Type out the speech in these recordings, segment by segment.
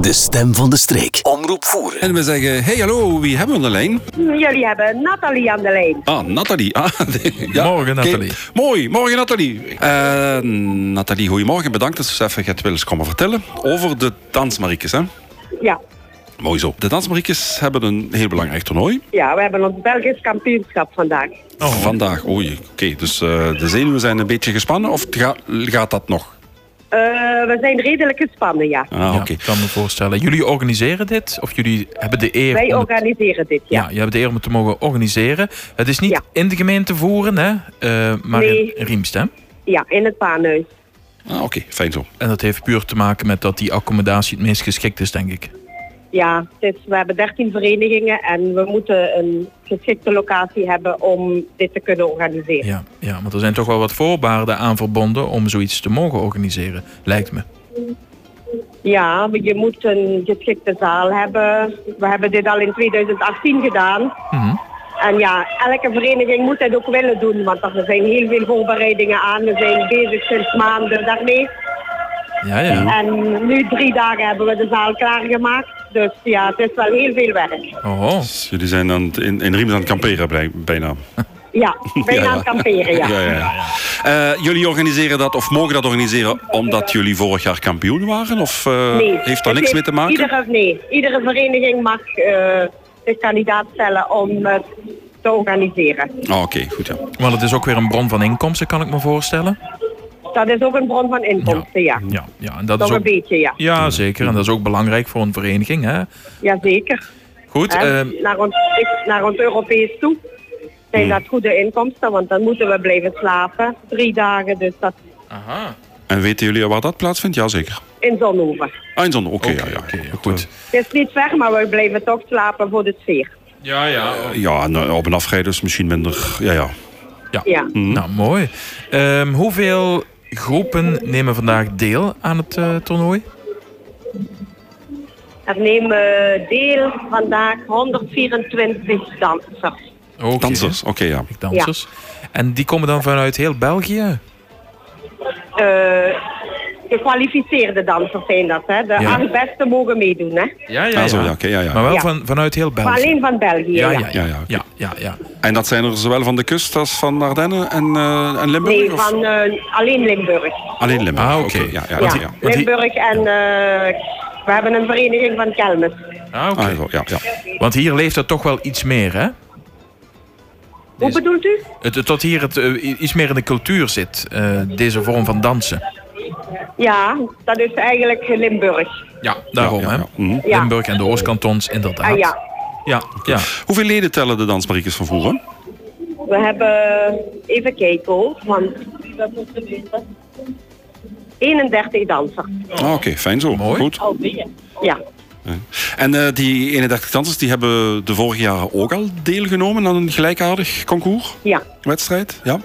De stem van de streek. Omroep voeren. En we zeggen, hey hallo, wie hebben we aan de lijn? Jullie hebben Nathalie aan de lijn. Ah, Nathalie. Ah, ja, Morgen, oké. Nathalie. Mooi, morgen Nathalie. Eh Nathalie, goedemorgen. Bedankt dat ze even het willen komen vertellen over de dansmariekjes. Hè? Ja. Mooi zo. De dansmariekjes hebben een heel belangrijk toernooi. ja, we hebben ons Belgisch kampioenschap vandaag. Oh, Vandaag, oei. Oké, dus eh, de zenuwen zijn een beetje gespannen of ga- gaat dat nog? Eh, we zijn redelijk gespannen, ja. Ah, Ja, oké. ik kan me voorstellen. Jullie organiseren dit, of jullie hebben de eer. Wij om het- organiseren dit, ja. ja. je hebt de eer om het te mogen organiseren. Het is niet Ja. in de gemeente voeren, hè, eh, maar Nee. in, in Riemst. Hè? Ja, in het paanhuis. Ah, oké. Fijn zo. En dat heeft puur te maken met dat die accommodatie het meest geschikt is, denk ik. Ja, het is- we hebben 13 verenigingen en we moeten een geschikte locatie hebben om dit te kunnen organiseren. Ja, ja, want er zijn toch wel wat voorwaarden aan verbonden om zoiets te mogen organiseren, lijkt me. Ja, maar je moet een geschikte zaal hebben. We hebben dit al in 2018 gedaan. Mhm. En ja, elke vereniging moet dit ook willen doen, want er zijn heel veel voorbereidingen aan. We zijn bezig sinds maanden daarmee. Ja, ja. En nu drie dagen hebben we de zaal klaargemaakt. Dus ja, het is wel heel veel werk. Oh, Dus jullie zijn aan het, in, in Riemen aan het kamperen blij- bijna. Ja, bijna Ja, ja. aan het kamperen, ja. ja, ja. Eh, jullie organiseren dat of mogen dat organiseren omdat jullie vorig jaar kampioen waren? Of eh, Nee, heeft daar het niks mee te maken? Iedere, nee, iedere vereniging mag eh, zich kandidaat stellen om het te organiseren. Ah, Oké, goed ja. maar het is ook weer een bron van inkomsten, kan ik me voorstellen. Dat is ook een bron van inkomsten, ja. Ja, ja en dat Toch is een ook. beetje, ja. Ja, zeker. En dat is ook belangrijk voor een vereniging. Hè? Jazeker. Goed, Hè? ehm, naar, ons, ik- naar ons Europees toe zijn dat goede inkomsten, want dan moeten we blijven slapen. Drie dagen, dus dat Aha. En weten jullie waar dat plaatsvindt? Jazeker. in Zonhoeven. Eindzon, oké, Oké, ja, ja. oké, ja, goed. goed. Het is niet ver, maar we blijven toch slapen voor de sfeer. Ja, ja. Ja, nou, op een afrijden is misschien minder. Ja, ja. Ja. Nou, mooi. Ehm, hoeveel groepen nemen vandaag deel aan het eh, toernooi? Er nemen deel vandaag 124 dansers. Oké. Dansers, oké, ja. Dansers. En die komen dan vanuit heel België? Eh, gekwalificeerde dansers zijn dat, hè. De Ja. acht beste mogen meedoen, hè. Ja, ja, Ah, zo, ja, oké, ja, Maar ja. wel Ja. van, vanuit heel Maar België? alleen van België, Ja, ja. ja, ja. Ja, ja, ja, oké. ja, ja, ja. En dat zijn er zowel van de kust als van Ardennen en, eh, en Limburg? Nee, of? van eh, alleen Limburg. Alleen Limburg, Ah, oké. oké. Ja, ja, Ja, ja. ja. Want die- Limburg en eh, we hebben een vereniging van Kelmis. Ah, oké. Ah, zo, ja, ja. Want hier leeft dat toch wel iets meer, hè? Hoe Deze- bedoelt u? Het, het- dat hier het, eh, iets meer in de cultuur zit, eh, deze vorm van dansen. Ja, dat is eigenlijk Limburg. Ja, daarom, ja, ja. hè? Mhm. Ja. Limburg en de Oostkantons, inderdaad. Ah ja, Ja, ja. Hoeveel leden tellen de dansmariekjes van vroeger? we hebben even kijken hoor, want 31 dansers. Ah, oké, fijn zo. Mooi. Goed. Ja, En eh, die 31 dansers die hebben de vorige jaren ook al deelgenomen aan een gelijkaardig concours, ja, wedstrijd. Ja.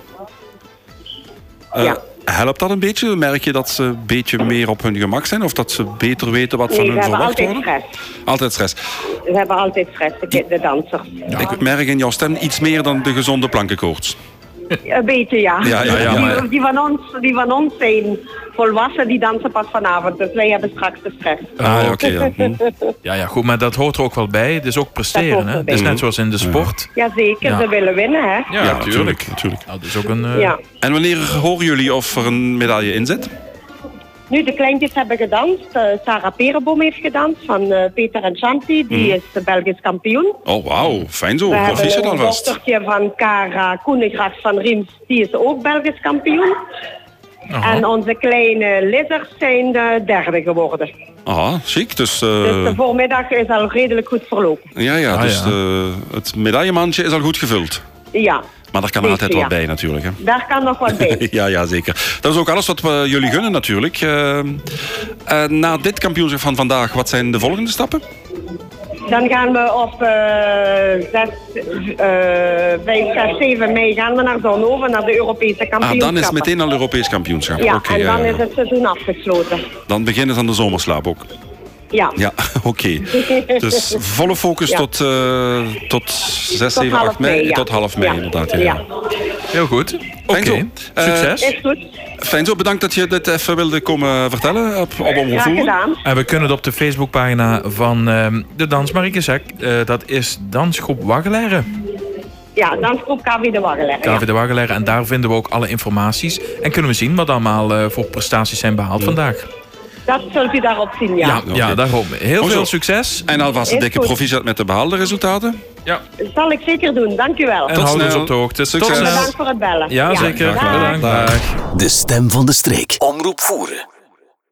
Eh, Ja. Helpt dat een beetje? Merk je dat ze een beetje meer op hun gemak zijn? Of dat ze beter weten wat van nee, we hun hebben verwacht altijd wordt? stress. Altijd stress. We hebben altijd stress, de, ki- de dansers. Ik merk in jouw stem iets meer dan de gezonde plankenkoorts. Een beetje, ja. Ja, ja, ja, die, maar- die, van ons, die van ons zijn volwassen, die dansen pas vanavond. Dus wij hebben straks de stress. Ah, ja, oké. ja. Hm. Ja, ja, goed, maar dat hoort er ook wel bij. Het is ook Dat presteren, hoort hè? Het erbij. is net zoals in de sport. Jazeker, Ja. ze willen winnen, hè. Ja, natuurlijk, natuurlijk. Nou, dat is ook een... eh, Ja. En wanneer horen jullie of er een medaille in zit? Nu, de kleintjes hebben gedanst. Eh, Sarah Perenboom heeft gedanst van eh, Peter en Shanti. Die is de Belgisch kampioen. Oh, wauw. Fijn zo. We Wat Mm. is het hebben een alvast? dochtertje van Cara Koenigras van Riems. Die is ook Belgisch kampioen. Oh. aha. En onze kleine lizards zijn de derde geworden. Ah, chic. Dus, eh, Dus de voormiddag is al redelijk goed verlopen. ja, ja, Ah, dus ja. de- het medaillemandje is al goed gevuld. Ja, Maar daar kan er Zeker, altijd ja. wat bij natuurlijk. Hè? daar kan nog wat bij. Ja, ja, zeker. Dat is ook alles wat we jullie gunnen natuurlijk. Eh, eh, na dit kampioenschap van vandaag, wat zijn de volgende stappen? Ah, Dan gaan we op eh 6, eh 5, 6, 7 mei gaan we naar Zonhoven, naar de Europese Ah, kampioenschappen. dan is het meteen al Europees kampioenschap. Ja, Oké, en ja, dan ja. is het seizoen afgesloten. dan beginnen ze aan de zomerslaap ook. Ja. Ja, oké. Dus volle focus Ja. tot, eh, tot 6, Tot 7, half 8 mei. mei, ja. Tot half mei, Ja. inderdaad. Ja. Ja. ja. Heel goed. Oké, Fijn zo. succes. Is goed. Fijn zo, bedankt dat je dit even wilde komen vertellen op, op Omroep Graag Voeren. gedaan. En we kunnen het op de Facebookpagina van ehm, de dans Marieke Zak. eh, dat is Dansgroep Waggelaren. Ja, dansgroep KV de Warreler. David Ja. de Waggelaren. En daar vinden we ook alle informaties. En kunnen we zien wat allemaal eh, voor prestaties zijn behaald vandaag. Dat zult u daarop zien, ja. Ja, oké. ja daarom. Heel Oh, zo. veel succes. En alvast een Is dikke goed. proficiat met de behaalde resultaten. Ja. Dat zal ik zeker doen. Dank u wel. En hou ons snel. op de hoogte. Succes. Tot snel. Bedankt voor het bellen. Ja, zeker. Graag gedaan. Bedankt. Dag. Dag. De stem van de streek. Omroep Voeren.